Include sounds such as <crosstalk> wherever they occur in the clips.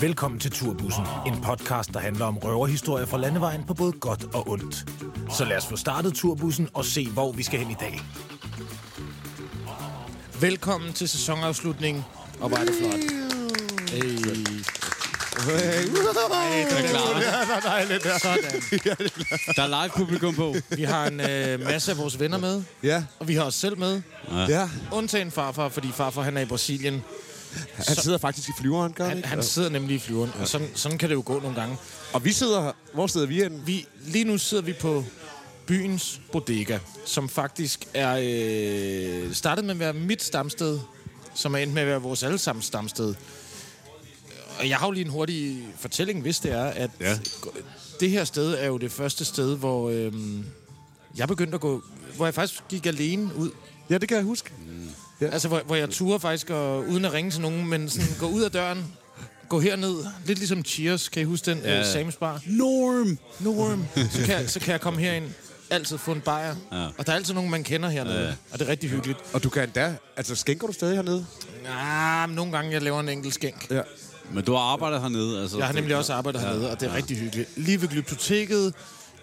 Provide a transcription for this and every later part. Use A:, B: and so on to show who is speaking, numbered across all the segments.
A: Velkommen til Turbussen, en podcast, der handler om røverhistorier fra landevejen på både godt og ondt. Så lad os få startet Turbussen og se, hvor vi skal hen i dag. Velkommen til sæsonafslutningen.
B: Og var det flot. Hey.
A: Hey, det er
B: klar.
A: Nej, det der. Sådan.
B: Der er live publikum på.
A: Vi har en øh, masse af vores venner med,
C: Ja,
A: og vi har os selv med.
C: ja.
A: Undtagen farfar, fordi farfar han er i Brasilien.
C: Han sidder faktisk i flyveren, gør han,
A: Han,
C: ikke?
A: han sidder nemlig i flyveren, og sådan, sådan kan det jo gå nogle gange.
C: Og vi sidder her. Hvor sidder vi henne?
A: Vi, lige nu sidder vi på byens bodega, som faktisk er øh, startet med at være mit stamsted, som er endt med at være vores allesammens stamsted. Og jeg har jo lige en hurtig fortælling, hvis det er, at ja. det her sted er jo det første sted, hvor øh, jeg begyndte at gå, hvor jeg faktisk gik alene ud.
C: Ja, det kan jeg huske.
A: Altså, hvor, hvor jeg turer faktisk, og, uden at ringe til nogen, men sådan, gå ud af døren, gå herned, lidt ligesom Cheers, kan I huske den? Ja. Sam's Bar.
B: Norm!
A: Norm. Så kan, jeg- så kan jeg komme herind, altid få en bajer. Ja. Og der er altid nogen, man kender hernede. Ja. Og det er rigtig hyggeligt.
C: Og du kan endda... Altså, skænker du stadig hernede?
A: Ah, men nogle gange, jeg laver en enkelt skænk.
C: Ja.
B: Men du har arbejdet hernede, altså.
A: Jeg har nemlig også arbejdet hernede, og det er rigtig hyggeligt. Lige ved Glyptoteket,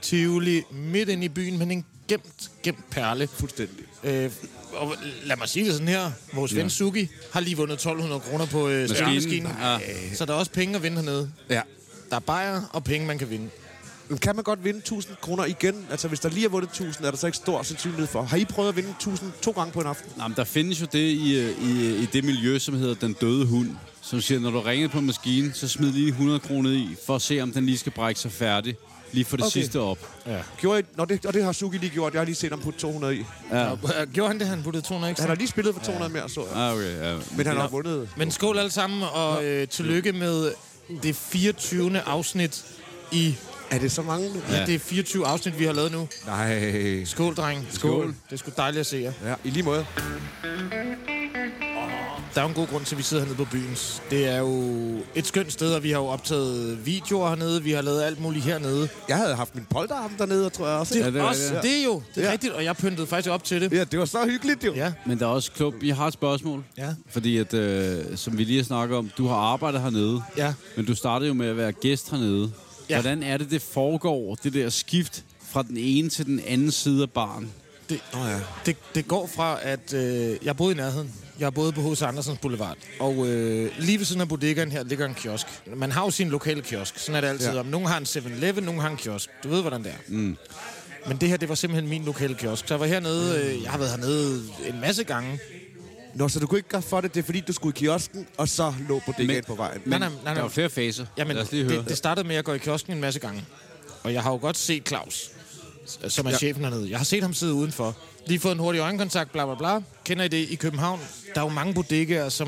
A: Tivoli, midt inde i byen, men en gemt, gemt perle.
C: Fuldstændig.
A: Øh, og lad mig sige det sådan her. Vores ven Suki har lige vundet 1200 kroner på øh, maskinen.
B: Ja.
A: Så der er også penge at vinde hernede.
C: Ja.
A: Der er bajer og penge, man kan vinde.
C: Men kan man godt vinde 1000 kroner igen? Altså, hvis der lige er vundet 1000, er der så ikke stor sandsynlighed for. Har I prøvet at vinde 1000 to gange på en aften?
B: Nej, men der findes jo det i, øh, i, i det miljø, som hedder Den Døde Hund, som siger, når du ringer på maskinen, så smid lige 100 kroner i, for at se, om den lige skal brække sig færdig. Lige for det
C: Okay.
B: okay. sidste op.
C: Gjorde I... Nå, det, og det har Suki lige gjort. Jeg har lige set ham putte 200 i.
B: Ja.
A: øh, Gjorde han det, han puttede 200 ekstra?
C: Han har lige spillet for 200 mere, så jeg.
B: Ah, okay, ja.
C: Men han har vundet.
A: Men skål alle sammen, og øh, tillykke med det 24. afsnit i...
C: Er det så mange?
A: Ja.
B: Ja.
A: Det er 24 afsnit, vi har lavet nu.
C: Nej.
A: Skål, dreng.
B: Skål.
A: Det er sgu dejligt at se jer.
C: Ja, i lige måde.
A: Der er jo en god grund til, at vi sidder hernede på byens. Det er jo et skønt sted, og vi har jo optaget videoer hernede. Vi har lavet alt muligt hernede.
C: Jeg havde haft min polterarm dernede, tror jeg også.
A: Det er, ja,
B: Ja, det
A: det,
B: er
A: også,
B: rigtigt.
A: det er jo det er
C: Ja.
A: rigtigt, og jeg pyntede faktisk op til det.
C: Ja, det var så hyggeligt, jo.
A: Ja.
B: Men der er også klub. Jeg har et spørgsmål.
A: Ja.
B: Fordi at, øh, som vi lige har snakket om, du har arbejdet hernede.
A: Ja.
B: Men du startede jo med at være gæst hernede.
A: Ja.
B: Hvordan er det, det foregår, det der skift fra den ene til den anden side af barn?
A: Det, oh, ja. det, det går fra, at øh, jeg boede i nærheden. Jeg boede på H.C. Andersens Boulevard. Og øh, lige ved siden af bodegaen her ligger en kiosk. Man har jo sin lokale kiosk. Sådan er det altid.
C: Ja.
A: Ja. Nogle har en 7-Eleven, nogle har en kiosk. Du ved, hvordan det er. Mm. Men det her, det var simpelthen min lokale kiosk. Så jeg var hernede, øh, jeg har været hernede en masse gange.
C: Nå, så du kunne ikke gøre for det, det er fordi, du skulle i kiosken, og så lå på
B: Men-
C: det på vejen.
A: Men- nej, nej, nej.
B: Der er jo flere faser.
A: Jamen,
B: Lad os lige høre.
A: det, det startede med, at jeg går i kiosken en masse gange. Og jeg har jo godt set Claus, som er ja. chefen hernede. Jeg har set ham sidde udenfor. Lige fået en hurtig øjenkontakt, bla bla bla. Kender I det i København? Der er jo mange bodegaer, som...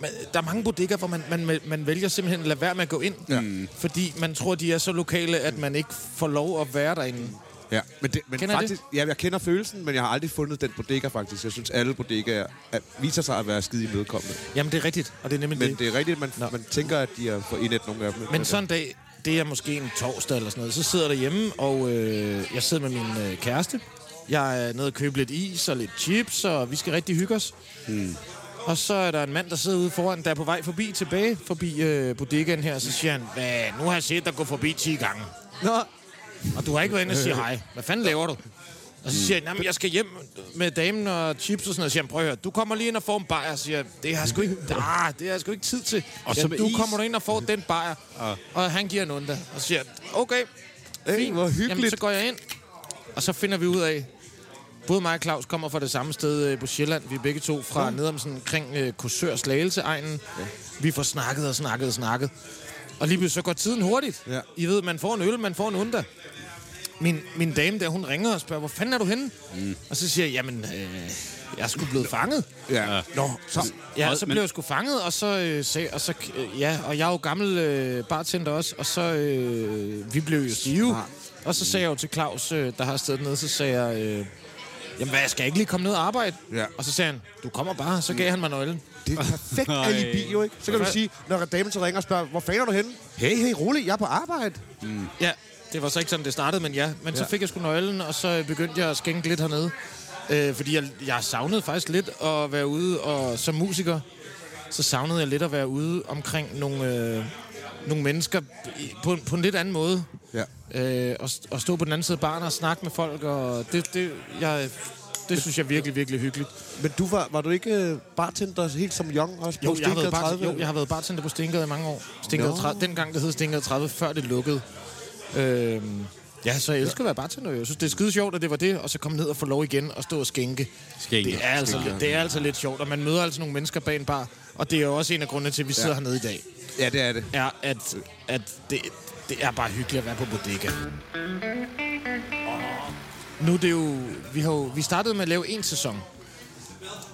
A: man- Der er mange bodegaer, hvor man, man, man vælger simpelthen at lade være med at gå ind. Ja. Fordi man tror, de er så lokale, at man ikke får lov at være derinde.
C: Ja, men, det, men
A: Kender I det?
C: faktisk, ja, jeg kender følelsen, men jeg har aldrig fundet den bodega, faktisk. Jeg synes, alle bodegaer er, viser sig at være skide imødekommende.
A: Jamen, det er rigtigt, og det er nemlig
C: Men
A: det.
C: det er rigtigt, at
A: Nå.
C: man, man tænker, at de er for indet nogle af dem.
A: Men sådan en dag, det er måske en torsdag eller sådan noget, så sidder jeg derhjemme, og øh, jeg sidder med min øh, kæreste. Jeg er nede og købe lidt is og lidt chips, og vi skal rigtig hygge os. Hmm. Og så er der en mand, der sidder ude foran, der er på vej forbi tilbage, forbi øh, bodegaen her, så siger han, Hvad, nu har jeg set dig gå forbi 10 gange,
C: Nå,
A: og du har ikke været inde og
C: <laughs>
A: sige hej. Hvad fanden laver du? Og så siger han, "Jamen, jeg skal hjem med damen og chips og sådan noget. Så siger han, prøv at høre, du kommer lige ind og får en bajer. Og siger, jeg, det har jeg sgu ikke, ah, det har jeg sgu ikke tid til. Og
B: Og
A: så
B: så med
A: du
B: is."
A: kommer du ind og får den bajer. Og han giver en unda. Og så siger, jeg, okay,
C: hey,
A: fint.
C: hvor
A: Jamen, så
C: hyggeligt.
A: går jeg ind, og så finder vi ud af, både mig og Claus kommer fra det samme sted øh, på Sjælland. Vi er begge to fra nede om sådan omkring øh, Korsør slagelse egnen Vi får snakket og snakket og snakket. Og lige pludselig så går tiden hurtigt.
C: Ja.
A: I ved, man får en øl, man får en unda. Min, min dame der, hun ringer og spørger, hvor fanden er du henne? Mm. Og så siger jeg, jamen, øh, jeg er sgu blevet fanget.
C: Ja. Nå, så,
A: Ja,
B: Og-
A: så
B: men-
A: blev jeg sgu fanget, og så, øh, sag, og så øh, ja, og jeg er jo gammel øh, bartender også, og så, øh, vi blev jo stive.
C: Smart.
A: Og så sagde jeg jo til Claus, øh, der har stedet nede, så sagde jeg, øh, jamen hvad, skal jeg ikke lige komme ned og arbejde?
C: Ja.
A: Og så sagde han, du kommer bare, så gav han mig nøglen.
C: det er
A: <laughs>
C: et perfekt
B: Ej.
C: alibi, jo ikke? Så kan du sige, når damen så ringer og spørger, hvor fanden er du henne? Hey, hey, rolig, jeg er på arbejde.
A: Ja, det var så ikke sådan, det startede, men ja. Men ja. så fik jeg sgu nøglen, og så øh, begyndte jeg at skænke lidt hernede. Øh, fordi jeg, jeg savnede faktisk lidt at være ude og, som musiker. så savnede jeg lidt at være ude omkring nogle, øh, nogle mennesker i- på, en- på en lidt anden måde.
C: Ja.
A: Øh, og, st- og stå på den anden side af baren og snakke med folk, og det, det, jeg, det synes jeg virkelig, virkelig hyggeligt.
C: Men du var, var du ikke øh, bartender helt som young også? på
A: Jo, jeg har,
C: Stenker
A: været bar,
C: 30?
A: jo, jeg har været bartender på Stinkeret i mange år. Stinkeret
C: Nå.
A: 30, dengang det hed Stinkeret 30, før det lukkede. Øhm, ja, så jeg elsker at være bartender. Jeg synes, det er skide sjovt, at det var det, og så komme ned og få lov igen og stå og skænke.
B: Skænke.
A: Det er, altså, det er altså lidt sjovt, og man møder altså nogle mennesker bag en bar, og det er jo også en af grundene til, at vi sidder hernede i dag,
C: Ja, det er det.
A: er, at, at det, det er bare hyggeligt at være på bodega. Nu er det jo... Vi, har jo, vi startede med at lave en sæson.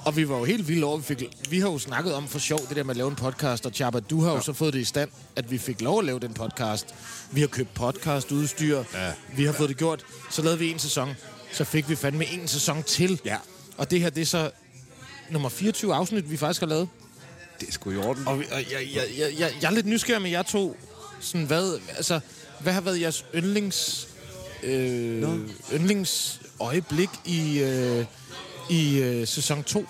A: Og vi var jo helt vilde over, vi, fik, vi har jo snakket om for sjov det der med at lave en podcast, og Chapa, du har jo ja. så fået det i stand, at vi fik lov at lave den podcast. Vi har købt podcastudstyr, ja. vi har fået det gjort. Så lavede vi en sæson, så fik vi fandme en sæson til.
C: Ja.
A: Og det her, det er så nummer 24 afsnit, vi faktisk har lavet.
C: Det er sgu i orden.
A: Og, vi- og jeg, jeg, jeg, jeg, jeg er lidt nysgerrig med jer to. Sådan, hvad, altså, hvad har været jeres yndlings, øh, yndlings øjeblik i, øh, i øh, sæson 2?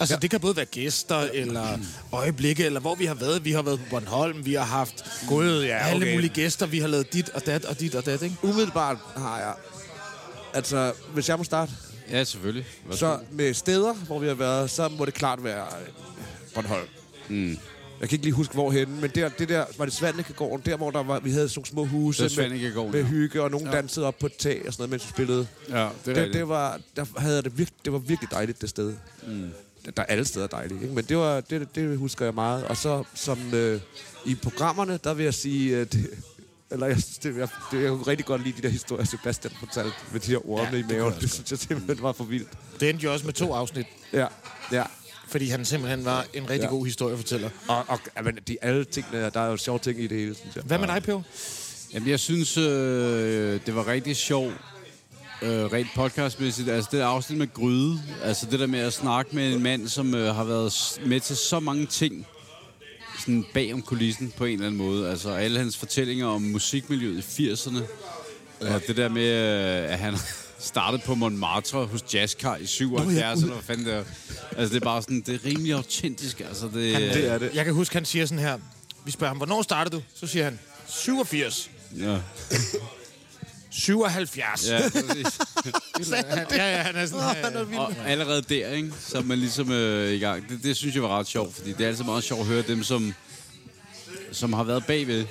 A: Altså, ja. det kan både være gæster, eller øjeblikke, eller hvor vi har været. Vi har været på Bornholm, vi har haft
C: Gud, ja,
A: alle
C: okay.
A: mulige gæster. Vi har lavet dit og dat og dit og dat, ikke?
C: Umiddelbart har jeg... Altså, hvis jeg må starte,
B: Ja, selvfølgelig. Hvad
C: så med steder, hvor vi har været, så må det klart være øh, Bornholm. Mm. Jeg kan ikke lige huske, hvorhenne, men der, det der, var det Svandekegården, der hvor der var, vi havde sådan nogle små huse
B: Det var Svanekegården,
C: med
B: ja.
C: hygge, og nogen ja. dansede op på et tag og sådan noget, mens vi spillede.
B: Ja, det er
C: det,
B: rigtigt.
C: det var, der havde jeg det, virke, det var virkelig dejligt, det sted. Mm. Der, der er alle steder dejligt, ikke? men det, var, det, det husker jeg meget. Og så som øh, i programmerne, der vil jeg sige, øh, det, eller jeg, synes, det, jeg, det, jeg kunne rigtig godt lide de der historier, Sebastian fortalte med de her orme ja, i maven. Det, det synes jeg simpelthen var for vildt.
A: Det endte jo også med to afsnit,
C: Ja, ja.
A: fordi han simpelthen var en rigtig ja.
C: Ja.
A: god historiefortæller.
C: Og, og ja, men de alle tingene, der er jo sjove ting i det hele, synes jeg.
A: Hvad med dig, Pio?
B: Jamen, jeg synes, øh, det var rigtig sjovt, øh, rent podcastmæssigt. Altså, det afsnit med Gryde. Altså, det der med at snakke med en mand, som øh, har været s- med til så mange ting sådan bag om kulissen på en eller anden måde. Altså, alle hans fortællinger om musikmiljøet i 80'erne. Og det der med, øh, at han <laughs> startede på Montmartre hos Jazzcar i 77, eller hvad fanden det er. Altså, det er bare sådan, det er rimelig autentisk. Altså, det,
C: det er det.
A: Jeg kan huske, han siger sådan her. Vi spørger ham, hvornår startede du? Så siger han, 87.
B: Ja,
A: 77. <laughs> Ja,
B: ja præcis. <laughs>
A: ja, ja han er sådan øh, her. Ja,
B: Og allerede der, ikke? Så er man ligesom øh, i gang. Det, det synes jeg var ret sjovt, fordi det er altid meget sjovt at høre dem, som, som har været bagved. Ja.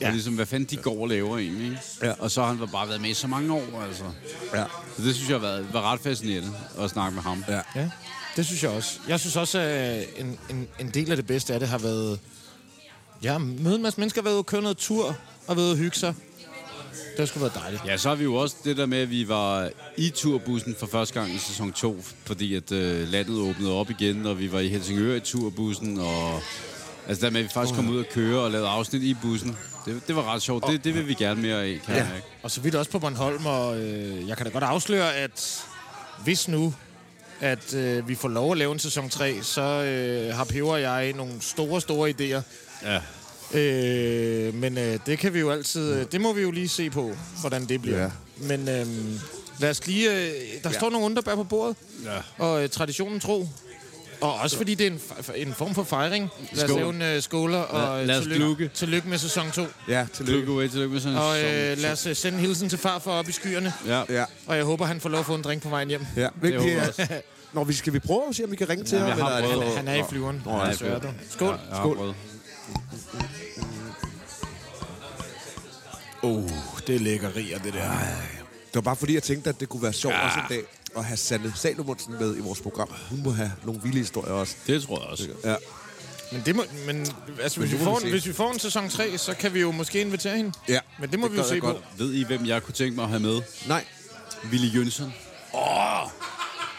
A: Ja.
B: Og ligesom, hvad fanden de går og laver egentlig, ikke?
C: Ja.
B: Og så har han bare været med i så mange år, altså.
C: Ja.
B: Så det synes jeg var, var ret fascinerende at snakke med ham.
C: Ja.
A: ja. Det synes jeg også. Jeg synes også, at en, en, en del af det bedste af det har været... Ja, møde en masse mennesker, været ude og køre noget tur og været ude og hygge sig. Det har sgu været dejligt.
B: Ja, så har vi jo også det der med, at vi var i turbussen for første gang i sæson 2, fordi at øh, landet åbnede op igen, og vi var i Helsingør i turbussen, og altså der med, at vi faktisk kom ud og køre og lavede afsnit i bussen. Det, det var ret sjovt. Det, det vil vi gerne mere af, kan ja. jeg mærke.
A: Og så vidt også på Bornholm, og øh, jeg kan da godt afsløre, at hvis nu at øh, vi får lov at lave en sæson 3, så øh, har Peber og jeg nogle store, store idéer.
B: Ja.
A: Øh, men øh, det kan vi jo altid... Øh, det må vi jo lige se på, hvordan det bliver.
C: Ja.
A: Ja. Men øh, lad os lige... Øh, der ja. står nogle underbær på bordet,
B: Ja.
A: og øh, traditionen tro. Og også fordi det er en, f- en form for fejring. Lad os
B: Skål.
A: lave en øh, skåler, og øh,
B: lad os
A: tillykke,
B: glukke.
A: tillykke med sæson 2.
C: Ja, tillykke.
B: Tillykke, Wade. Tillykke med sådan en
A: Og
B: sæson.
A: øh, lad os øh, sende en hilsen til far for op i skyerne.
B: Ja.
C: Ja.
A: Og jeg håber, han får lov at få en drink på vejen hjem.
C: Ja,
B: håber
C: hvilket
B: jeg
C: er... Nå, vi skal vi prøve at se, om vi kan ringe til
B: Jamen,
C: ham?
B: jeg har
C: eller er det-
B: prøvet.
A: øh, Han er i flyveren.
C: Nå,
A: Ja,
B: jeg
A: sørger
B: prøver.
A: du. Skål.
B: Ja, jeg har
C: Skål.
B: prøvet.
A: Oh, det er lækkerier, det der.
C: Det var bare fordi, jeg tænkte, at det kunne være sjovt ja. også en dag at have Sanne Salomonsen med i vores program. Hun må have nogle vilde historier også.
B: Det tror jeg også.
C: Ja.
A: Men, det må, men, altså, hvis,
C: det
A: vi
C: må
A: får
C: vi
A: en,
C: se.
A: hvis vi får en sæson 3, så kan vi jo måske invitere hende.
C: Ja,
A: Men det må
C: det
A: vi jo
C: gad
A: se
C: jeg
A: på.
C: godt.
B: Ved I, hvem jeg kunne tænke mig at have med?
C: Nej.
B: Willy Jønsson. Åh!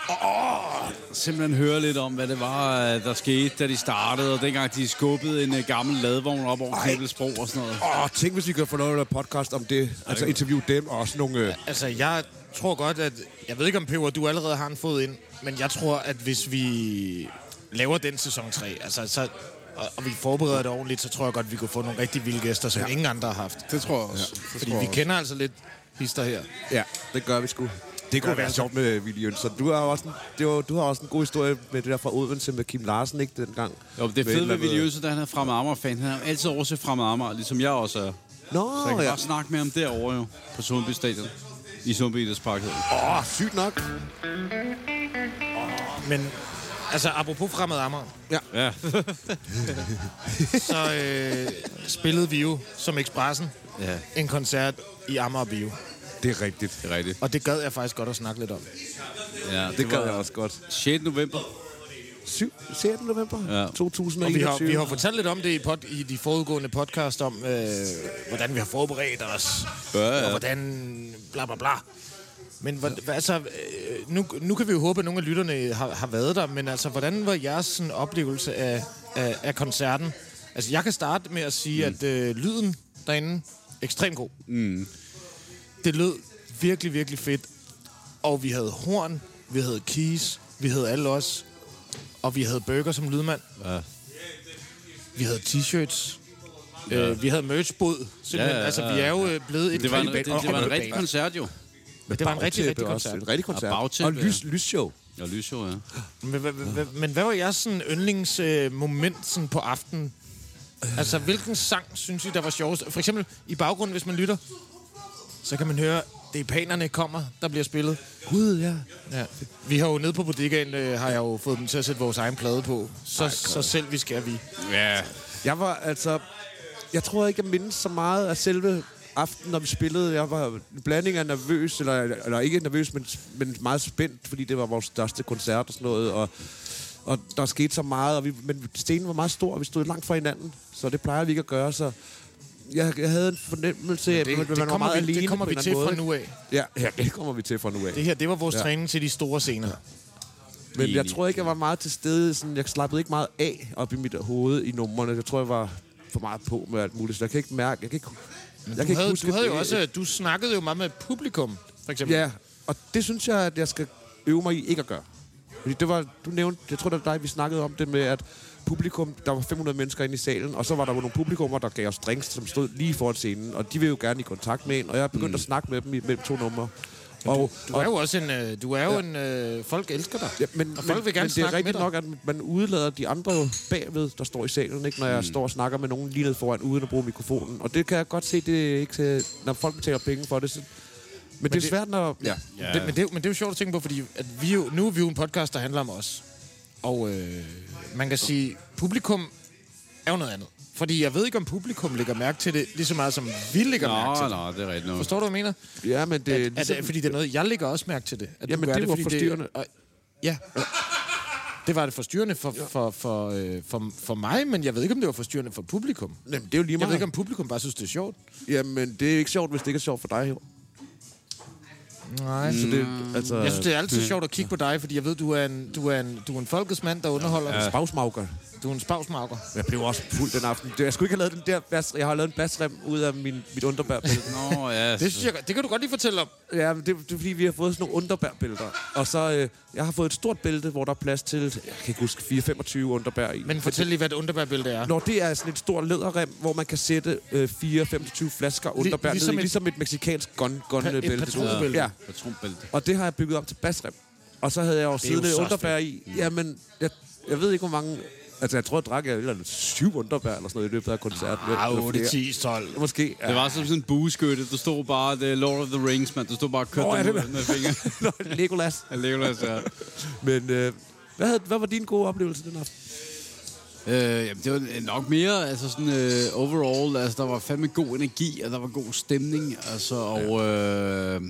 B: Åh! Simpelthen høre lidt om, hvad det var, øh, der skete, da de startede, og dengang de skubbede en øh, gammel ladvogn op over
C: Ej.
B: Kæbelsbro og sådan noget.
C: Åh, tænk, hvis vi kan få noget af podcast om det. Altså interview dem og også nogle... Øh...
A: Altså, jeg tror godt, at... Jeg ved ikke, om Peber, du allerede har en fod ind, men jeg tror, at hvis vi laver den sæson 3, altså, så, og, og vi forbereder det ordentligt, så tror jeg godt, at vi kunne få nogle rigtig vilde gæster, som ja. ingen andre har haft.
D: Det tror jeg også. Ja,
A: Fordi vi kender altså lidt hister her.
C: Ja, det gør vi sgu. Det kunne være sjovt med Willy Jønsson. Du har, jo også en, det var, du har også en god historie med det der fra Odense med Kim Larsen, ikke dengang?
B: Jo, det
C: et
B: fede
C: eller
B: ved
C: andet-
B: Willy Jønsson, da han er fremmed Amager-fan, han er jo altid over til fremmed Amager, ligesom jeg også er. Så jeg
C: Nå,
B: kan
C: ja.
B: bare snakke med ham derovre jo, på Sundby Stadion. I Sundby Idrætspark. hedder det.
C: Åh, oh, sygt nok.
A: Men altså, apropos fremad Amager,
B: Ja.
A: <laughs> så øh, spillede vi jo som Expressen
B: ja,
A: en koncert i Amager Bio.
C: Det er rigtigt.
B: det er rigtigt.
A: Og det gad jeg faktisk godt at snakke lidt om.
B: Ja,
C: Det gør jeg også godt.
B: 6. november.
C: 7, 6. november
B: Ja.
C: ja. 2021.
A: Og vi har, vi har fortalt lidt om det i, pod, i de forudgående podcast om, øh, hvordan vi har forberedt os,
B: Ja, ja.
A: og hvordan bla bla bla. Men hvor, hvad- altså, øh, nu, nu kan vi jo håbe, at nogle af lytterne har, har været der, men altså, hvordan var jeres sådan, oplevelse af, af, af koncerten? Altså, jeg kan starte med at sige, mm. at øh, lyden derinde, ekstremt god. Mm. Det lød virkelig, virkelig fedt. Og vi havde horn, vi havde keys, vi havde alle os, og vi havde burger som lydmand.
B: Ja.
A: Vi havde t-shirts. Øh, vi havde merchbod. Simpelthen.
B: Ja,
A: Ja,
B: ja,
A: altså,
B: ja,
A: vi er jo
B: ja.
A: øh, blevet et
B: Det var en, det,
A: kvalitet-
B: det var en
A: og-
B: rigtig koncert jo.
A: Det var en rigtig, rigtig koncert.
C: En rigtig koncert.
B: Og bagtæppe,
C: og lys, lysshow.
B: Ja, lysshow, ja.
A: Men, hva- hva- hva- men hvad var jeres sådan, yndlingsmoment øh, moment sådan, på aftenen?
C: Øh.
A: Altså, hvilken sang synes I, der var sjovest? For eksempel i baggrunden, hvis man lytter, så kan man høre, det er panerne kommer, der bliver spillet.
C: Gud, ja.
A: Ja. Vi har jo nede på bodegaen, øh, har jeg jo fået dem til at sætte vores egen plade på. Så, så selv vi skal vi.
B: Ja,
C: Jeg var altså... Jeg tror ikke, jeg mindes så meget af selve aften, når vi spillede. Jeg var en blanding af nervøs, eller, eller ikke nervøs, men, men meget spændt, fordi det var vores største koncert og sådan noget. Og, og der skete så meget, og vi, men scenen var meget stor, og vi stod langt fra hinanden. Så det plejer vi ikke at gøre, så... Jeg, jeg havde en fornemmelse af, at man
A: Det, det,
C: var
A: kommer,
C: meget
A: vi,
C: alene
A: det kommer
C: på
A: vi
C: en
A: til
C: eller
A: fra
C: anden måde.
A: nu af.
C: Ja, ja, det kommer vi til fra nu af.
A: Det her, det var vores ja.
C: Ja.
A: træning til de store scener.
C: Men jeg
B: Enig.
C: tror ikke, jeg var meget til stede. Sådan, jeg slappede ikke meget af op i mit hoved i numrene. Jeg tror, jeg var for meget på med alt muligt. Så jeg kan ikke mærke... Jeg kan ikke, jeg
A: Du havde,
C: huske
A: du havde jo
C: det.
A: også, øh, du snakkede jo meget med publikum, for eksempel.
C: Ja, og det synes jeg, at jeg skal øve mig i ikke at gøre. Fordi det var, du nævnte, jeg tror, det var dig, vi snakkede om det med, at publikum, der var 500 mennesker inde i salen, og så var der jo nogle publikummer, der gav os drinks, som stod lige foran scenen, og de vil jo gerne i kontakt med en, og jeg begyndte mm. at snakke med dem imellem to numre. Og,
A: Du er jo også en, øh, du er jo ja. en øh, folk elsker dig.
C: Ja, men,
A: og folk
C: men,
A: vil gerne
C: men det er
A: snakke med
C: rigtigt
A: dig.
C: nok, at man udlader de andre jo bagved, der står i salen, ikke? når jeg står og snakker med nogen lige nede foran, uden at bruge mikrofonen. Og det kan jeg godt se, det er ikke til, når folk betaler penge for det. Så... Men, men det er
A: det-
C: svært, når... Ja.
A: Ja. Det, men, det, er jo- men det er jo sjovt at tænke på, fordi at vi jo, nu er vi jo en podcast, der handler om os. Og øh, man kan sige, publikum er jo noget andet. Fordi jeg ved ikke, om publikum lægger mærke til det lige så meget, som vi lægger mærke til
B: nå,
A: det.
B: nå, det er rigtigt nok.
A: Forstår du, hvad jeg mener?
C: ja, men det er
A: At,
C: ligesom...
A: at, fordi det er noget, jeg lægger også mærke til det. At du
C: Jamen,
A: gør
C: det var
A: fordi
C: forstyrrende.
A: og, ja. Det var det forstyrrende for, for, for, øh, for, for mig, men jeg ved ikke, om det var forstyrrende for publikum.
C: Jamen, det er jo lige
A: Jeg
C: meget.
A: ved ikke, om publikum bare synes, det er sjovt.
C: Jamen, det er ikke sjovt, hvis det ikke er sjovt for dig. Jo.
A: Nej.
C: Så det, altså...
A: Jeg synes, det er altid sjovt at kigge på dig, fordi jeg ved, du er en, du er en, du er en folkets mand, der underholder. Ja.
C: øh, Spagsmauker.
A: Du er en spavsmarker.
C: Jeg blev også fuld den aften. Det- Jeg skulle ikke have lavet den der bas, Jeg har lavet en basrem ud af min, mit underbærbillede.
B: Nå, ja.
A: Det, synes jeg, det kan du godt lige fortælle om.
C: ja, men det, det, er fordi, vi har fået sådan nogle underbærbælter. Og så, øh, jeg har fået et stort bælte, hvor der er plads til, jeg kan ikke huske, 4-25 underbær i.
A: Men fortæl lige, hvad et underbærbælte er.
C: Når det er sådan et stor læderrem, hvor man kan sætte øh, 4-25 flasker underbær
A: ligesom
C: ligesom
A: et-
C: ned, et, ligesom et mexikansk gun,
A: Pa- et
C: gunbælte.
A: patronbælte.
C: Ja,
B: Patronbælte.
C: og det har jeg bygget op til basrem. Og så havde jeg jo
A: jo
C: siddende
A: så
C: underbær i. Jamen, jeg, jeg ved ikke, hvor mange... Altså, jeg tror, jeg drak jeg et eller andet syv underbær eller sådan noget i løbet af koncerten. Eller flere.
A: 12.
C: Måske. Ja.
B: Det var som sådan en bueskytte. Du stod bare, det er Lord of the Rings, mand. Du stod bare og kørte
C: Nå,
B: oh,
C: ja,
B: den
C: det
B: ud med
A: <laughs>
B: fingeren.
C: <laughs> Nå, Legolas.
B: Jeg lever altså.
C: Men øh, hvad, havde, hvad var din gode oplevelse den aften?
B: Øh, jamen, det var nok mere, altså sådan øh, overall, altså der var fandme god energi, og der var god stemning, altså, og øh,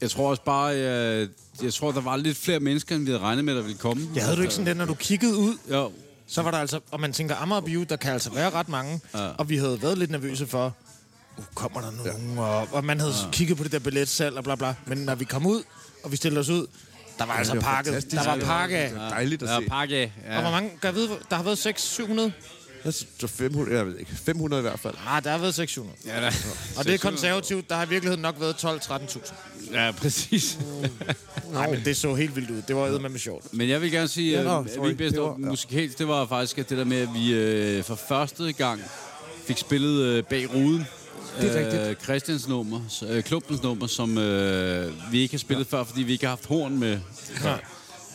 B: jeg tror også bare, jeg, jeg tror, der var lidt flere mennesker, end vi havde regnet med, der ville komme. Altså,
A: Ja, havde du ikke sådan den, når du kiggede ud,
B: Jo,
A: så var der altså, og man tænker, Amager Bio, der kan altså være ret mange, ja. og vi havde været lidt nervøse for, uh, kommer der nogen, ja. og, og man havde ja. kigget på det der billetsalg og bla bla, men når vi kom ud, og vi stillede os ud, der var altså
C: det var
A: pakket,
C: fantastisk.
A: der var pakket af.
C: var dejligt at
B: der
C: se.
B: var pakke.
A: Og hvor
B: Ja.
A: mange, kan jeg vide, hvor- der har været 600
C: Jeg synes, det var 500, jeg ved ikke. 500 i hvert fald.
A: Ah, der har været 600.
B: Ja, der.
A: Og det er konservativt, der har i virkeligheden nok været 12-13.000.
B: Ja, præcis.
A: Nej, men det så helt vildt ud. Det var eddermame med sjovt.
B: Men jeg vil gerne sige, øh,
C: Ja, nå,
B: at
C: sorry.
B: min bedste
C: Det var- ja.
B: musikalsk, det var faktisk at det der med, at vi øh, for første gang fik spillet øh, bag ruden.
C: Det er rigtigt.
B: Øh, Christians nummer, s- øh, klubbens nummer, som øh, vi ikke har spillet før, fordi vi ikke har haft horn med.
A: Nej.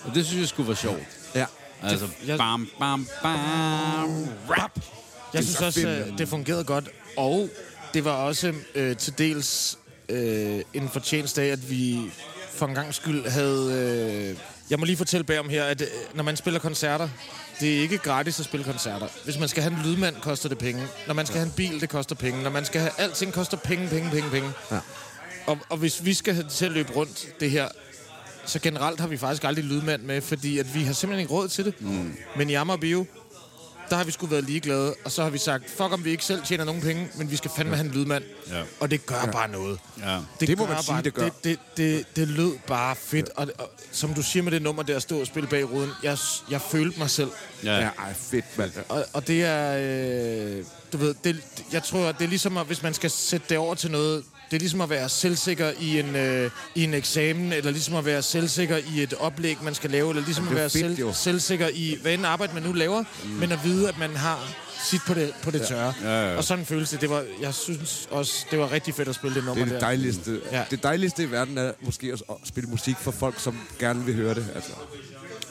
B: Og det synes jeg skulle være sjovt.
C: Ja.
B: Altså,
A: jeg-
B: bam, bam, bam, rap.
A: Jeg synes også, øh, det fungerede godt, og det var også øh, til dels øh, en fortjeneste af, at vi for en gang skyld havde... Øh, jeg må lige fortælle bag om her, at øh, når man spiller koncerter, det er ikke gratis at spille koncerter. Hvis man skal have en lydmand, koster det penge. Når man skal have en bil, det koster penge. Når man skal have... Alting koster penge, penge, penge, penge. Ja. Og, og hvis vi skal have det til at løbe rundt, det her, så generelt har vi faktisk aldrig lydmand med, fordi at vi har simpelthen ikke råd til det. Mm. Men i Amager Bio, der har vi sgu været ligeglade, og så har vi sagt, fuck om vi ikke selv tjener nogen penge, men vi skal fandme have en lydmand.
B: Ja.
A: Og det gør ja. bare noget.
B: Ja.
C: Det må man
A: gør
C: sige,
A: bare,
C: det gør.
A: Det, det, det, det lød bare fedt, og, og, som du siger med det nummer der, at stå og spille bag ruden, jeg, jeg følte mig selv.
B: Ja.
C: Ja, ej, fedt, mand.
A: Og, og det er, øh, du ved, det, jeg tror, det er ligesom, at hvis man skal sætte det over til noget, det er ligesom at være selvsikker i en, øh, i en eksamen, eller ligesom at være selvsikker i et oplæg, man skal lave, eller ligesom
C: Jamen,
A: at
C: det er
A: være
C: fedt,
A: selv,
C: jo.
A: selvsikker i, hvad end arbejde man nu laver, mm. men at vide, at man har sit på det, på det tørre.
B: Ja, ja.
A: Og sådan en følelse, det var, jeg synes også, det var rigtig fedt at spille det nummer
C: Det er det
A: der.
C: dejligste.
A: Ja.
C: Ja. Det dejligste i verden er måske også at spille musik for folk, som gerne vil høre det. Altså.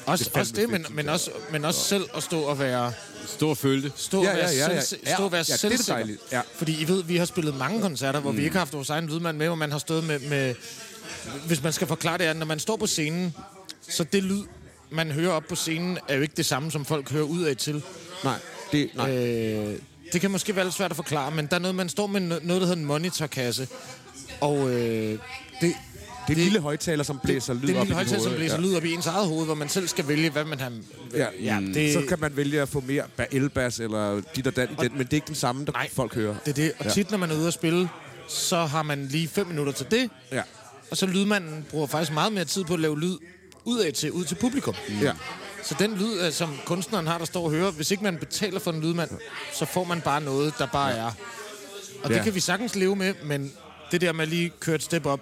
A: Også
C: Det
A: det,
C: er
A: også
C: fandme
A: det men,
C: fedt,
A: men, også, men også selv at stå og være...
B: Stor følte.
A: Stå
C: Ja,
A: og være,
C: ja, ja, ja.
A: selvsi-
C: Ja,
A: Stå og være
C: ja, det er
A: selvsikker.
C: dejligt. Ja.
A: Fordi I ved, vi har spillet mange koncerter, hvor mm. vi ikke har haft vores egen lydmand med, hvor man har stået med, med... Hvis man skal forklare det, er, når man står på scenen, så det lyd, man hører op på scenen, er jo ikke det samme, som folk hører ud af til.
C: Nej, det, nej. Øh,
A: Øh, det kan måske være lidt svært at forklare, men der er noget, man står med no- noget, der hedder en monitorkasse, og øh, det,
C: det er en lille højtaler, som blæser lyd
A: det er
C: op
A: en lille
C: i dit
A: højtaler, som
C: hoved,
A: blæser ja. lyd op i ens eget hoved, hvor man selv skal vælge, hvad man har...
C: Ja.
A: ja
C: Ja, Mm.
A: det,
C: Så kan man vælge at få mere ba- elbas eller dit og dat i den, men det er ikke den samme, der
A: Nej.
C: folk hører.
A: Det er det. Og
C: Ja.
A: tit, når man er ude at spille, så har man lige fem minutter til det.
C: Ja.
A: Og så lydmanden bruger faktisk meget mere tid på at lave lyd ud af til, ud til publikum.
C: Ja.
A: Så den lyd, øh, som kunstneren har, der står og hører, hvis ikke man betaler for en lydmand, så får man bare noget, der bare er. Og det
C: Ja.
A: kan vi sagtens leve med, men det der med at lige køre et step op,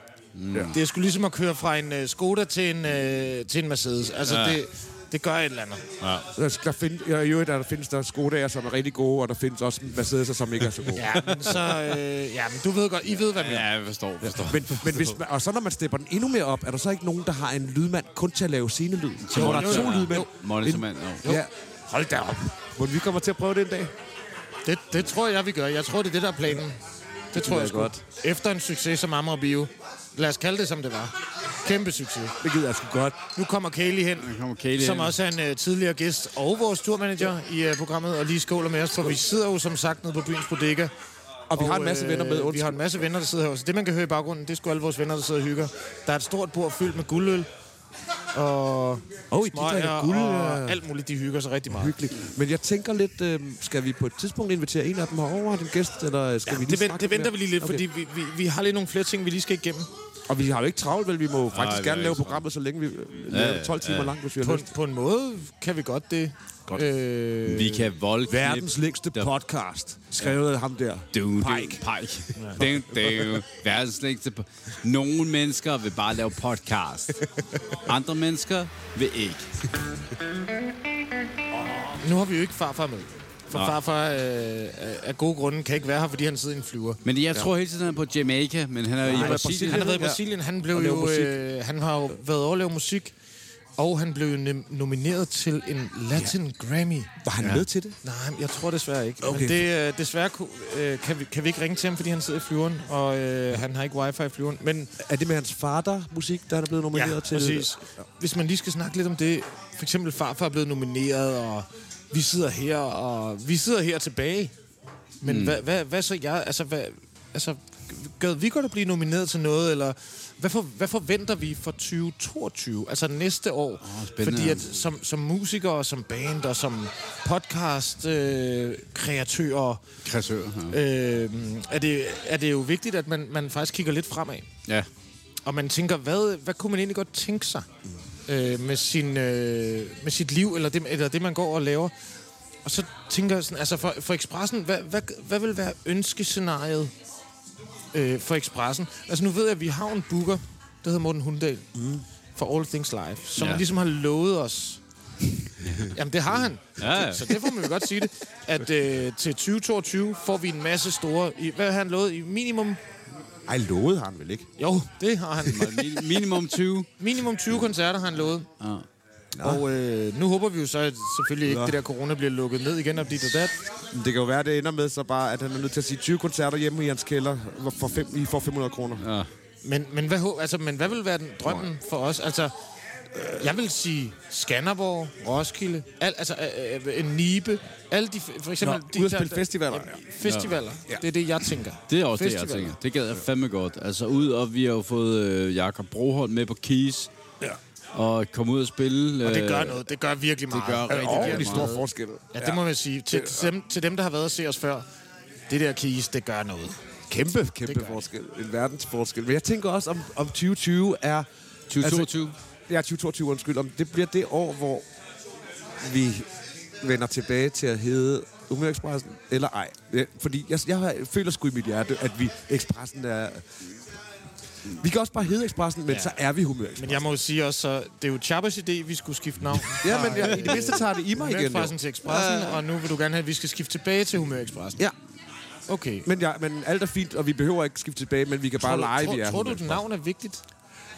C: Ja.
A: det er sgu ligesom at køre fra en uh, Skoda til en, uh, til en Mercedes. Altså,
B: Ja.
A: ja. det, det gør et eller andet.
B: Ja.
C: Der, skal- der, find, ja, i øvrigt, der, der findes der Skoda'er, som er rigtig gode, og der findes også Mercedes'er, som ikke er så <laughs> gode.
A: Ja, men så... Øh, ja, men du ved godt, I ved, hvad jeg mener.
B: Ja, jeg forstår, forstår.
C: Men, men hvis man, og så når man stepper den endnu mere op, er der så ikke nogen, der har en lydmand kun til at lave scenelyd? Så
A: Jo,
C: hvor der er
A: jo,
C: to
A: jo.
C: lydmænd.
B: Monitormand, jo.
C: Ja. Hold da op. Må vi kommer til at prøve det en dag?
A: Det, det tror jeg, vi gør. Jeg tror, det er det, der er planen. Det, tror
C: lyder
A: jeg sgu.
C: godt.
A: Efter en succes som Amager Bio. Lad os kalde det, som det var. Kæmpe succes.
C: Det gider jeg sgu godt.
A: Nu kommer Kaylee hen,
B: kommer Kaylee
A: som
B: hen.
A: også er en uh, tidligere gæst og vores turmanager i uh, programmet, og lige skåler med os, for vi sidder jo som sagt nede på byens bodega.
C: Og vi har en masse
A: øh,
C: venner med.
A: Vi har en masse venner, der sidder her. Så det, man kan høre i baggrunden, det er sgu alle vores venner, der sidder og hygger. Der er et stort bord fyldt med guldøl. Og
C: oh, de
A: smøger
C: drikker guld. øh.
A: og
C: Og...
A: alt muligt. De hygger sig rigtig meget.
C: Hyggeligt. Men jeg tænker lidt, øh, skal vi på et tidspunkt invitere en af dem herover, den gæst, eller skal ja, vi lige
A: Det, ven,
C: snakke
A: det venter vi lige lidt,
C: Okay.
A: okay. fordi vi, vi, vi har lige nogle flere ting, vi lige skal igennem.
C: Og vi har jo ikke travlt, vel? Vi må jo
B: vi
C: faktisk
B: har
C: gerne lave
B: ikke travlt.
C: programmet, så længe vi øh, laver det 12 timer
B: ja.
C: langt, hvis vi har
A: På,
C: lyst.
A: en- på en måde kan vi godt det. Godt. Øh,
B: Vi kan volde
C: Verdens længste podcast, skrevet af ham der.
B: Du,
C: Pike.
B: Pike. Pike. Det er jo verdens længste... po- Nogle mennesker vil bare lave podcast. Andre mennesker vil ikke.
A: nu har vi jo ikke farfar med. For
B: Nå.
A: Nå. farfar øh, af- af gode grunde kan ikke være her, fordi han sidder i en flyver.
B: Men jeg tror hele tiden, han er på Jamaica, men han er jo i Brasilien.
A: Han har været i
C: Ja.
A: Brasilien. Han,
C: Og
A: blev
C: laver
A: jo,
C: musik.
A: øh, han har jo været over at lave musik. Og han blev jo nem- nomineret til en Latin ja. Grammy.
C: Var han ja. med til det?
A: Nej, men jeg tror desværre ikke.
C: Okay.
A: Men det, øh, desværre ku, øh, kan, vi, kan vi ikke ringe til ham, fordi han sidder i flyveren, og øh, han har ikke wifi i flyveren. Men
C: Er det med hans far, der musik, der er blevet nomineret
A: ja,
C: til?
A: præcis. Hvis man lige skal snakke lidt om det. For eksempel farfar er blevet nomineret, og vi sidder her, og vi sidder her tilbage. Men mm. hvad, hvad, hvad så jeg? Altså, hvad, altså gad vi godt at blive nomineret til noget, eller hvad, for, hvad forventer vi for 2022? Altså næste år. Oh,
B: spændende.
A: Fordi at som, som musikere, som band og som podcast-kreatører... Øh, kreatører,
B: Krasør.
A: øh, er, det, er det jo vigtigt, at man, man faktisk kigger lidt fremad.
B: Ja.
A: Og man tænker, hvad, hvad kunne man egentlig godt tænke sig øh, med, sin, øh, med sit liv, eller det, eller det, man går og laver? Og så tænker jeg sådan, altså for, for Expressen, hvad, hvad, hvad vil være ønskescenariet øh, for Expressen? Altså nu ved jeg, at vi har en booker, der hedder Morten Hundal, mm. for All Things Live, som
B: Ja. <laughs>
A: ja. ligesom har lovet os, Jamen, det har han.
B: Ja, ja.
A: Så derfor må vi godt sige det, at øh, til 2022 får vi en masse store... I, hvad har han lovet? I minimum...
C: Ej, lovede har han vel ikke?
A: Jo, det har han.
B: Min- Minimum 20.
A: Minimum 20 koncerter har han lovet.
B: Ja.
A: Og øh, nu håber vi jo så, at selvfølgelig ikke
C: Nå.
A: det der corona bliver lukket ned igen op dit og dat.
C: Men Det kan jo være, det ender med så bare, at han er nødt til at sige 20 koncerter hjemme i hans kælder. hvor- For fem, I får 500 kroner. Ja.
A: Men, men, hvad, hå- altså, men hvad vil være den drømmen for os? Altså, jeg vil sige Skanderborg, Roskilde, al, altså øh, øh, Nibe, alle de, f- for eksempel...
C: Nå,
A: de,
C: ud at spille festivaler, ja.
A: Festivaler, det er det, jeg tænker.
B: Det er også det,
A: Festivaler.
B: jeg tænker. Det gad jeg fandme godt. Altså ud, og vi har jo fået øh, Jakob Broholm med på Keys. Ja. Og komme ud og spille.
A: Og det gør
B: øh,
A: noget, det gør virkelig meget.
B: gør rigtig,
C: Og
B: virkelig
C: de store
B: meget.
C: forskelle.
A: Ja, det må man sige. Til, til, dem, til dem, der har været og se os før, det der keys, det gør noget.
C: Kæmpe,
A: Det gør
C: kæmpe
A: det.
C: forskel. En verdensforskel. Men jeg tænker også, om, om 2020 er... Altså,
B: 2022.
C: Ja, 2022, undskyld. Om det bliver det år, hvor vi vender tilbage til at hedde Humørekspressen, eller ej. Ja, Fordi jeg, jeg har- føler sgu i mit hjerte, at vi Ekspressen er... Vi kan også bare hedde Ekspressen, men
A: Ja.
C: ja. så er vi Humørekspressen.
A: Men jeg må jo sige også, så det er jo Chappers idé, vi skulle skifte navn.
C: Ja, men jeg, i det mindste tager det i mig igen.
A: Humørexpressen
C: Jo.
A: til Expressen, og nu vil du gerne have, at vi skal skifte tilbage til Humørexpressen.
C: Ja,
A: Okay.
C: men, ja, men alt er fint, og vi behøver ikke skifte tilbage, men vi kan bare
A: Tror du-
C: lege,
A: tror,
C: vi er
A: Tror du,
C: Humørekspressen.
A: at navn er vigtigt?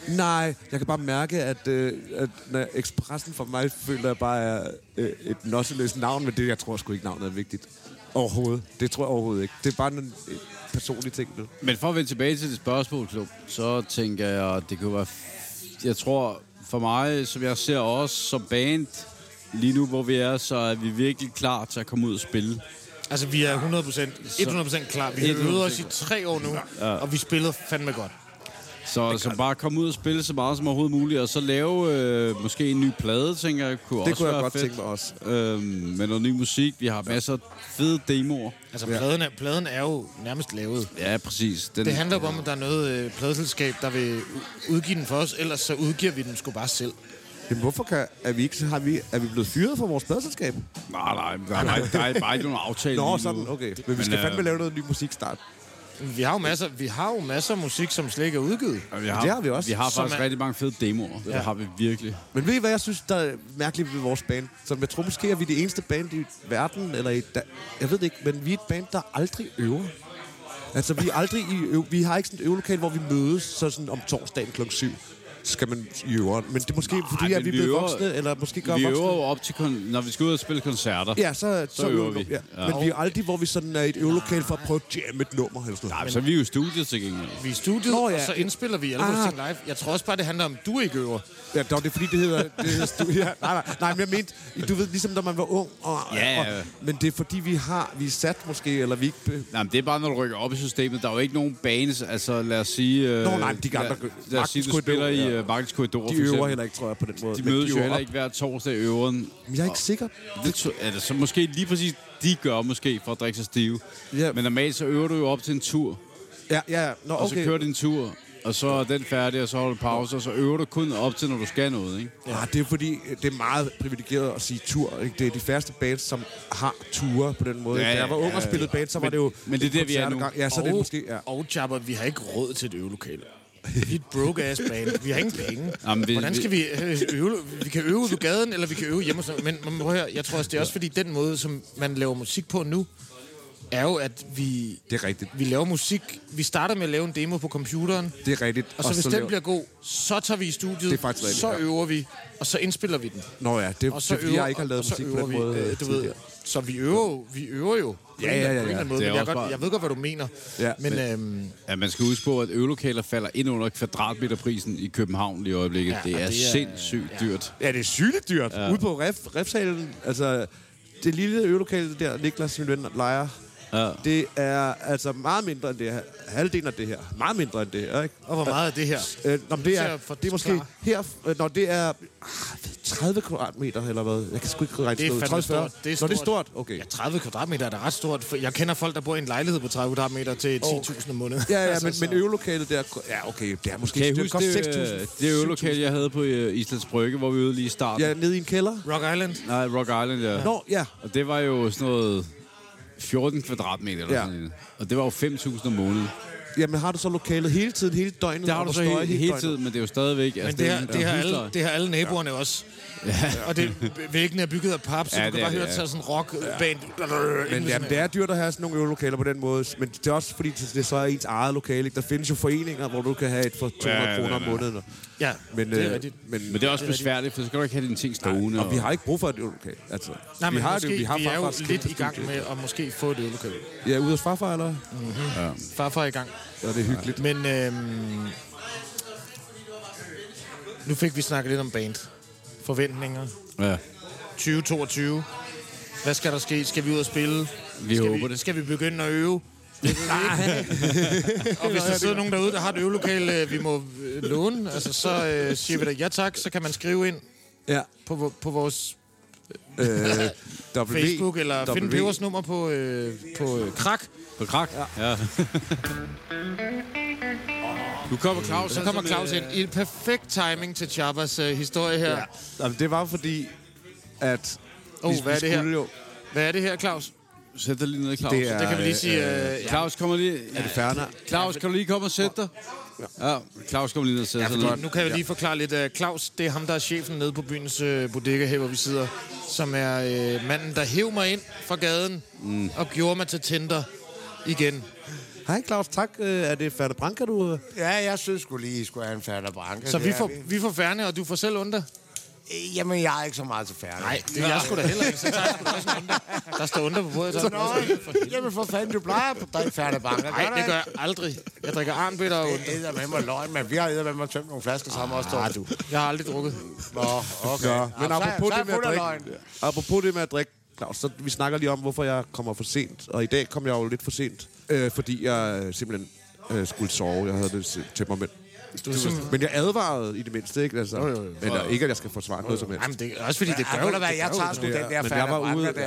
C: Nej, jeg kan bare mærke, at, øh, at når Expressen for mig føler jeg bare er øh, et nosseløst navn, men det, jeg tror sgu ikke, navnet er vigtigt. Overhovedet. Det tror jeg overhovedet ikke. Det er bare en øh, personlig ting nu.
B: Men for at vende tilbage til det spørgsmål, Klub, så tænker jeg, at det kunne være... Jeg tror, for mig, som jeg ser os som band, lige nu, hvor vi er, så er vi virkelig klar til at komme ud og spille.
A: Altså, vi er 100%, 100% klar. Vi har
B: 100%
A: øvet os i tre år nu, og vi spillede fandme godt.
B: Så, så bare komme ud og spille så meget som overhovedet muligt, og så lave øh, måske en ny plade, tænker jeg, kunne
C: Det
B: også
C: kunne jeg
B: være
C: godt
B: fedt.
C: tænke mig også.
B: Øhm, med noget ny musik. Vi har masser af fede demoer.
A: Altså, pladen er, pladen er jo nærmest lavet.
B: Ja, præcis. Den,
A: Det handler jo om, at der er noget øh, pladeselskab, der vil u- udgive den for os, ellers så udgiver vi den sgu bare selv.
C: Jamen, hvorfor kan, er, vi ikke, har vi, er vi blevet fyret fra vores pladselskab?
B: Nej, nej, nej, nej, der er bare ikke nogen aftale lige
C: Nå,
B: nu.
C: sådan, okay. Men vi
B: Men,
C: skal
B: øh,
C: fandme lave noget ny musik snart.
A: Vi har jo masser, vi har jo masser af musik, som slet ikke er udgivet.
B: Og Vi har,
C: Det har vi også.
B: Vi har
A: Som
B: faktisk
A: er-
B: rigtig mange fede demoer. Ja. Det har vi virkelig.
C: Men ved I, hvad jeg synes, der er mærkeligt ved vores band? Som jeg tror måske, at vi er det eneste band i verden, eller i da- jeg ved det ikke, men vi er et band, der aldrig øver. Altså, vi, er aldrig i øv- vi har ikke sådan et øvelokal, hvor vi mødes så sådan om torsdagen kl. 7 skal man i øveren. Men det er måske, Nej, fordi
B: men
C: at vi er
B: vi
C: blevet
B: øver-
C: voksne, eller måske gør
B: vi
C: voksne.
B: øver jo op til, kon- når vi skal ud og spille koncerter.
C: Ja, så, så,
B: øver
C: øver vi.
B: vi.
C: Ja.
B: Ja.
C: Men vi er aldrig, hvor vi sådan er i et øvelokal for at prøve at jamme et nummer. Eller sådan noget.
B: Så er vi jo i studiet til gengæld.
A: Vi er i studiet,
C: Nå,
A: Nå, ja.
C: ja.
A: og så indspiller vi alle vores
C: Ah.
A: ting live. Jeg tror også bare, det handler om, at du ikke øver.
C: Ja, dog, det er fordi, det hedder... Det hedder stu- <laughs> ja, nej, nej, nej, men jeg mente, du ved, ligesom da man var ung. Og,
B: Ja, ja.
C: og, men det er fordi, vi har, vi er sat måske, eller vi ikke... be-
B: Nej, men det er bare, når du rykker op i systemet. Der er jo ikke nogen banes, altså lad os sige... Øh,
C: Nå, nej, men de gamle-
B: lad, lad os sige, du
C: Magtens
B: spiller
C: Korridor,
B: i
C: ja.
B: øh, Markets
C: De
B: Korridor, for
C: øver
B: eksempel.
C: heller ikke, tror jeg, på den måde.
B: De
C: Men
B: mødes jo
C: øver
B: heller
C: op.
B: ikke hver torsdag i øveren.
C: Men jeg er ikke sikker.
B: Det to, altså, så måske lige præcis de gør måske for at drikke sig stive.
C: Ja.
B: Men normalt så øver du jo op til en tur,
C: Ja, ja, ja. Nå,
B: og okay. så
C: okay.
B: kører din tur, og så er den færdig, og så holder du pause, og så øver du kun op til, når du skal noget, ikke?
C: Ja, det er fordi, øh, det er meget privilegeret at sige tur. Ikke? Det er de færreste bands, som har ture på den måde.
B: Ja,
C: Ja, da jeg var ung
B: ja,
C: og spillede band, så var
B: Men-
C: det jo...
B: men det er
C: en
B: der, vi er
C: koncert
B: nu.
C: ad gangen. Ja, så det er
A: og,
C: måske... Ja.
A: Og Jabber, vi har ikke råd til et øvelokale. Vi er et broke-ass band. Vi har ingen penge.
B: <laughs> Jamen, vi-
A: Hvordan skal vi øh, øve? Vi kan øve ud på gaden, eller vi kan øve hjemme. hos nogen. Men man må høre, jeg tror også, det er også fordi, den måde, som man laver musik på nu, er jo, at vi,
C: Det er rigtigt.
A: vi laver musik. Vi starter med at lave en demo på computeren,
C: Det er rigtigt.
A: og så hvis den
C: laver-
A: bliver god, så tager vi i studiet,
C: Det er faktisk rigtigt,
A: så
C: ja.
A: øver vi, og så indspiller vi den.
C: Nå ja, det,
A: Og
C: det
A: så
C: er fordi,
A: øver,
C: jeg ikke har lavet
A: og så
C: musik på
A: øver
C: den
A: vi,
C: måde.
A: øh,
C: øh,
A: du ved,
C: tidligere.
A: så vi øver jo, vi øver jo. på
C: Ja,
A: en eller-
C: ja, ja,
A: på en eller anden måde,
B: ja. Det er
A: men jeg,
B: også
A: godt,
B: bare-
A: jeg ved godt, hvad du mener.
C: Ja,
A: men
C: men-
A: øhm,
B: Ja, man skal huske på, at øvelokaler falder ind under kvadratmeterprisen i København lige i øjeblikket.
A: Ja,
B: Ja, det,
A: og
B: er
A: det
B: det
A: er-
B: er sindssygt ja. dyrt.
C: Ja, det er sygt dyrt. Ja. Ude på ref, refsalen, altså det lille øvelokale der, Niklas, min ven, leger,
B: Ja.
C: det er altså meget mindre end det her. Halvdelen af det her. Meget mindre end det her, ikke?
A: og hvor meget er det her?
C: Øh, nå, men det,
A: Til
C: er,
A: at få
C: det er måske
A: klar.
C: her, øh, når det er ah, 30 kvadratmeter eller hvad. Jeg kan sgu ikke regne
A: Det er
C: sådan noget.
A: fandme
C: 30-40.
A: stort. Det er
C: Nå, det er
A: stort.
C: stort. Okay.
A: Ja, 30 kvadratmeter er da ret stort. For Jeg kender folk, der bor i en lejlighed på 30 kvadratmeter til 10.000 om måneden.
C: Ja, ja, men,
A: altså, så-
C: men øvelokalet der... Ja, okay, det er måske...
B: Kan I
C: det
B: huske
C: koster
B: det,
C: 6.000,
B: øh, det øvelokale, jeg havde på øh, Islands Brygge, hvor vi øvede lige i
C: 7.000.
B: starten?
C: Ja, nede i en kælder.
A: Rock Island.
C: Altså,
B: Nej, Rock Island, ja.
C: Nå, ja.
B: Og det var jo sådan noget 14 kvadratmeter eller
C: Ja.
B: sådan noget. Og det var jo 5.000 om måneden.
C: jamen har du så lokalet hele tiden, hele døgnet?
B: Det har
C: og
B: du
C: der
B: så
C: støj
B: hele, hele
C: døgnet?
B: tiden, men det er jo stadigvæk...
A: Men det har,
B: er en-
A: det har,
B: en
A: alle,
B: husleje.
A: det har alle naboerne ja. også. Ja. Og det, væggene er bygget af pap, så
B: Ja,
A: ja, du kan
B: det er
A: bare høre,
B: det, ja.
A: at sådan en rockband...
C: Men jamen, det er dyrt at have sådan nogle øvelokaler på den måde, men det er også fordi, det så er ens eget lokale. ikke? Der findes jo foreninger, hvor du kan have et for 200
B: Ja, ja, ja,
C: kroner om
B: ja.
C: måneden.
A: Ja,
C: Men,
A: det er
C: øh,
A: rigtigt.
C: men,
B: Men det er også besværligt, for så skal du ikke have dine ting stående.
C: og vi har ikke brug for et øvelokale. Altså,
A: Nej, men
C: vi har
A: måske,
C: det, vi har
A: vi er jo
C: farfars
A: lidt
C: kæmpe
A: i gang
C: studie.
A: med at måske få et øvelokale.
C: Ja, ude hos farfar, eller?
A: Farfar er i gang.
C: Ja, det er hyggeligt.
A: Men øhm, nu fik vi snakket lidt om band. Forventninger.
B: Ja.
A: 2022. Hvad skal der ske? Skal vi ud og spille?
B: Vi
A: skal
B: håber
A: vi,
B: det.
A: Skal vi begynde at øve? Det vil vi ikke. <laughs> og hvis der sidder nogen derude, der har et øvelokale, øh, vi må øh, låne, altså, så øh, siger vi da ja tak, så kan man skrive ind
C: Ja.
A: på, vo- på vores
C: Øh, w,
A: Facebook, eller
C: w,
A: finde Pebers nummer på, øh, på øh, Krak.
B: På krak? Ja. <laughs> ja. nu kommer Claus.
A: Så kommer Claus ind i en perfekt timing til Chabas øh, historie her.
C: Ja. Jamen, det var fordi, at...
A: Åh,
C: vi-
A: hvad
C: vi
A: er det her?
C: skulle Jo,
A: Hvad er det her, Claus?
B: Sæt dig lige ned, Claus.
C: Det er-
A: Det kan vi lige sige. Øh, ja.
B: Claus, kommer lige... Ja.
C: Ferner.
B: Claus, kan du lige komme og sætte dig? Ja, Claus kommer lige ned og sætter sig
A: Fordi
B: ned.
A: nu kan jeg lige forklare lidt. øh, Claus, det er ham, der er chefen nede på byens øh, bodega her, hvor vi sidder. Som er øh, manden, der hæv mig ind fra gaden mm. og gjorde mig til Tinder igen.
C: Hej, Claus. Tak. Øh, er det Ferner Branca, du... øh?
E: Ja, jeg synes skulle lige, I skulle have en færdig branke.
A: Så
E: Det
A: vi
E: er
A: får, vi får færne, og du får selv under.
E: Øh, Jamen, jeg er ikke så meget til færdig.
A: Nej, det er jeg sgu da heller ikke. <laughs> Så tager jeg sgu da også en under. Der står under på bordet. Så
E: Nå, jamen for fanden, du plejer at drikke færdig branke.
A: Nej, det gør jeg aldrig. Jeg drikker armbitter og under.
E: Det er med mig løgn, men vi har æder med mig tømt nogle flasker sammen også. Ah, du.
A: Jeg har aldrig drukket.
E: Nå, okay.
C: Ja, men
E: Nå, så er-
C: apropos,
E: så er
C: det med
E: jeg
C: at
E: fuld af
C: drikke,
E: løgn.
C: apropos det med at drikke, Claus, så vi snakker lige om, hvorfor jeg kommer for sent. Og i dag kom jeg jo lidt for sent, øh, fordi jeg øh, simpelthen øh, skulle sove. Jeg havde det si- temperament. Men jeg advarede i det mindste, ikke? Altså, jo, jo, jo. Men der, ikke, at jeg skal forsvare noget som helst.
A: Jamen, det er også fordi, det
E: Ja,
A: gør
E: ved
A: jo.
E: du hvad, jeg
C: gør
E: tager
C: jo
E: sgu
C: det.
E: den
C: Men jeg
E: der færdig
C: var ude-
E: branke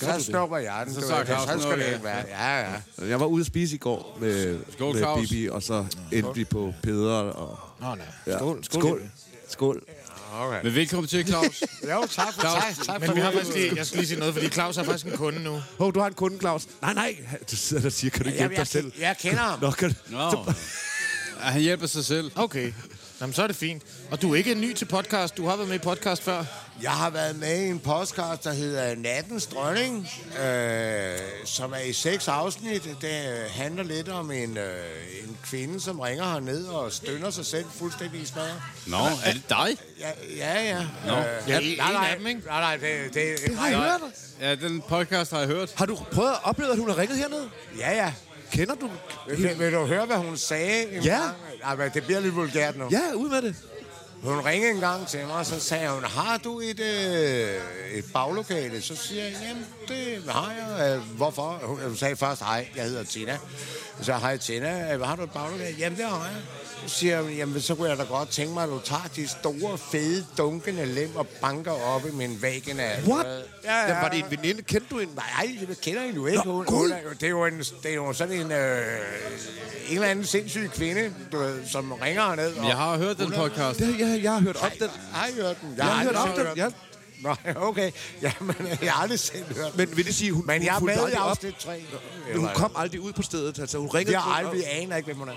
E: der. Så snupper jeg den. Så,
B: tager
E: så,
B: Claus
E: så
B: noget
E: skal det
B: af.
E: ikke være. Ja, ja.
C: Jeg var ude at spise i går med,
B: Skål,
C: med
B: Claus.
C: Bibi, og så endte vi på Peder. Og,
A: Nå, nej.
C: ja.
A: Skål.
C: Skål. Skål.
E: Okay.
B: Men velkommen til, Claus.
E: Jo, tak for
B: Claus,
E: tak. tak for
A: Men vi har
E: det.
A: faktisk lige, jeg skal lige sige noget, fordi Claus har faktisk en kunde nu.
C: Hov, du har en kunde, Claus. Nej, nej. Du sidder der og siger, kan du ikke
E: Jamen,
C: hjælpe dig selv?
E: jeg, jeg kender ham.
C: Nå, kan,
B: <laughs> Nå. Ja, han hjælper sig selv.
A: Okay. Jamen, så er det fint. Og du er ikke ny til podcast. Du har været med i podcast før.
E: Jeg har været med i en podcast, der hedder Nattens Dronning, øh, som er i seks afsnit. Det øh, handler lidt om en, øh, en kvinde, som ringer herned og stønner sig selv fuldstændig i smadret.
B: Nå, er det dig?
E: Ja, ja. ja. No. Øh,
A: Ja, en- en af dem, ikke?
E: Nej, nej, det, det, det
C: har jeg hørt.
B: Ja, den podcast har jeg hørt.
C: Har du prøvet at opleve, at hun har ringet hernede?
E: Ja, ja.
C: Kender du?
E: Vil, vil du høre, hvad hun sagde? en
C: Ja.
E: gang? Ej, men det bliver lidt vulgært nu.
C: Ja, ud med det.
E: Hun ringede en gang til mig, og så sagde hun, har du et, øh, et baglokale? Så siger jeg, jamen, det har jeg. Øh, Hvorfor? Hun hun sagde først, hej, jeg hedder Tina. Så hej Tina, Øh, har du et baglokale? Jamen, det har jeg. Så siger hun, jamen, så kunne jeg da godt tænke mig, at du tager de store, fede, dunkende lem og banker op i min vagina.
C: What?
E: Ja, ja.
C: Jamen, var det en veninde? Kendte du en?
E: Nej, jeg kender hende jo ikke.
C: Nå,
E: Hun,
C: Gud.
E: hun er, jo- det, er jo en, det er jo sådan en, øh, en eller anden sindssyg kvinde, du, ved, som ringer herned. og-
B: Jeg har hørt den podcast.
C: Det, jeg, jeg har hørt om den.
E: har I hørt den?
C: Jeg har hørt
E: aldrig
C: om
E: selv
C: den. Jeg,
E: Nej, okay. Jamen, jeg har aldrig selv hørt den.
C: men vil det sige, hun,
E: Men jeg er
C: hun fulgte
E: med i
C: aldrig op?
E: afsnit 3.
C: Men hun kom aldrig ud på stedet. Altså, hun ringede
E: Jeg har
C: til-
E: aldrig, vi aner ikke, hvem hun er.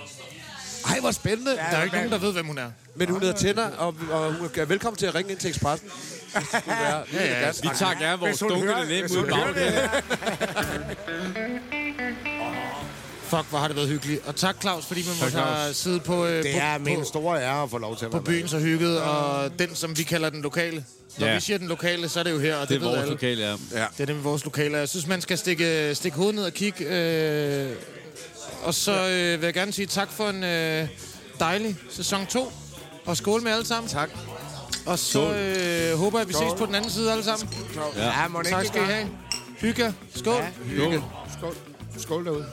C: Ej, hvor spændende.
E: Ja,
A: Der er jo ikke nogen, der ved, hvem hun er.
C: Men hun hedder Tænder, og, og hun er velkommen til at ringe ind til Expressen. Hvis du vil være- vil
A: ja.
C: gerne
B: Vi
C: snakke.
B: tager gerne vores
E: Hvis hun hører-
B: dunkende nem
E: hvis
B: ud
E: hun
B: i
E: hører det.
B: bagdelen.
A: Fuck, hvor har det været hyggeligt. Og tak, Claus, fordi man måtte have
B: Claus.
A: siddet på, øh,
E: Det
A: på,
E: er min
A: på,
E: store ære at få lov til at
A: på
E: være med.
A: byen så hygget. Og den, som vi kalder den lokale. Når
B: Ja.
A: vi siger den lokale, så er det jo her, og
B: Det
A: det,
B: er
A: det ved
B: vores
A: alle.
B: lokale, ja.
A: Det er nemlig vores lokale. Jeg synes, man skal stikke, stikke hovedet ned og kigge. Øh, og så øh, vil jeg gerne sige tak for en øh, dejlig sæson 2. Og skål med alle sammen. Tak. Og så
B: Skål.
A: øh, håber jeg, vi ses på den anden side alle sammen.
E: Ja, må det
A: Tak
E: ikke
A: skal I
E: gøre?
A: have. Hygge. Skål.
E: Ja.
B: Jo.
E: Skål. Skål derude.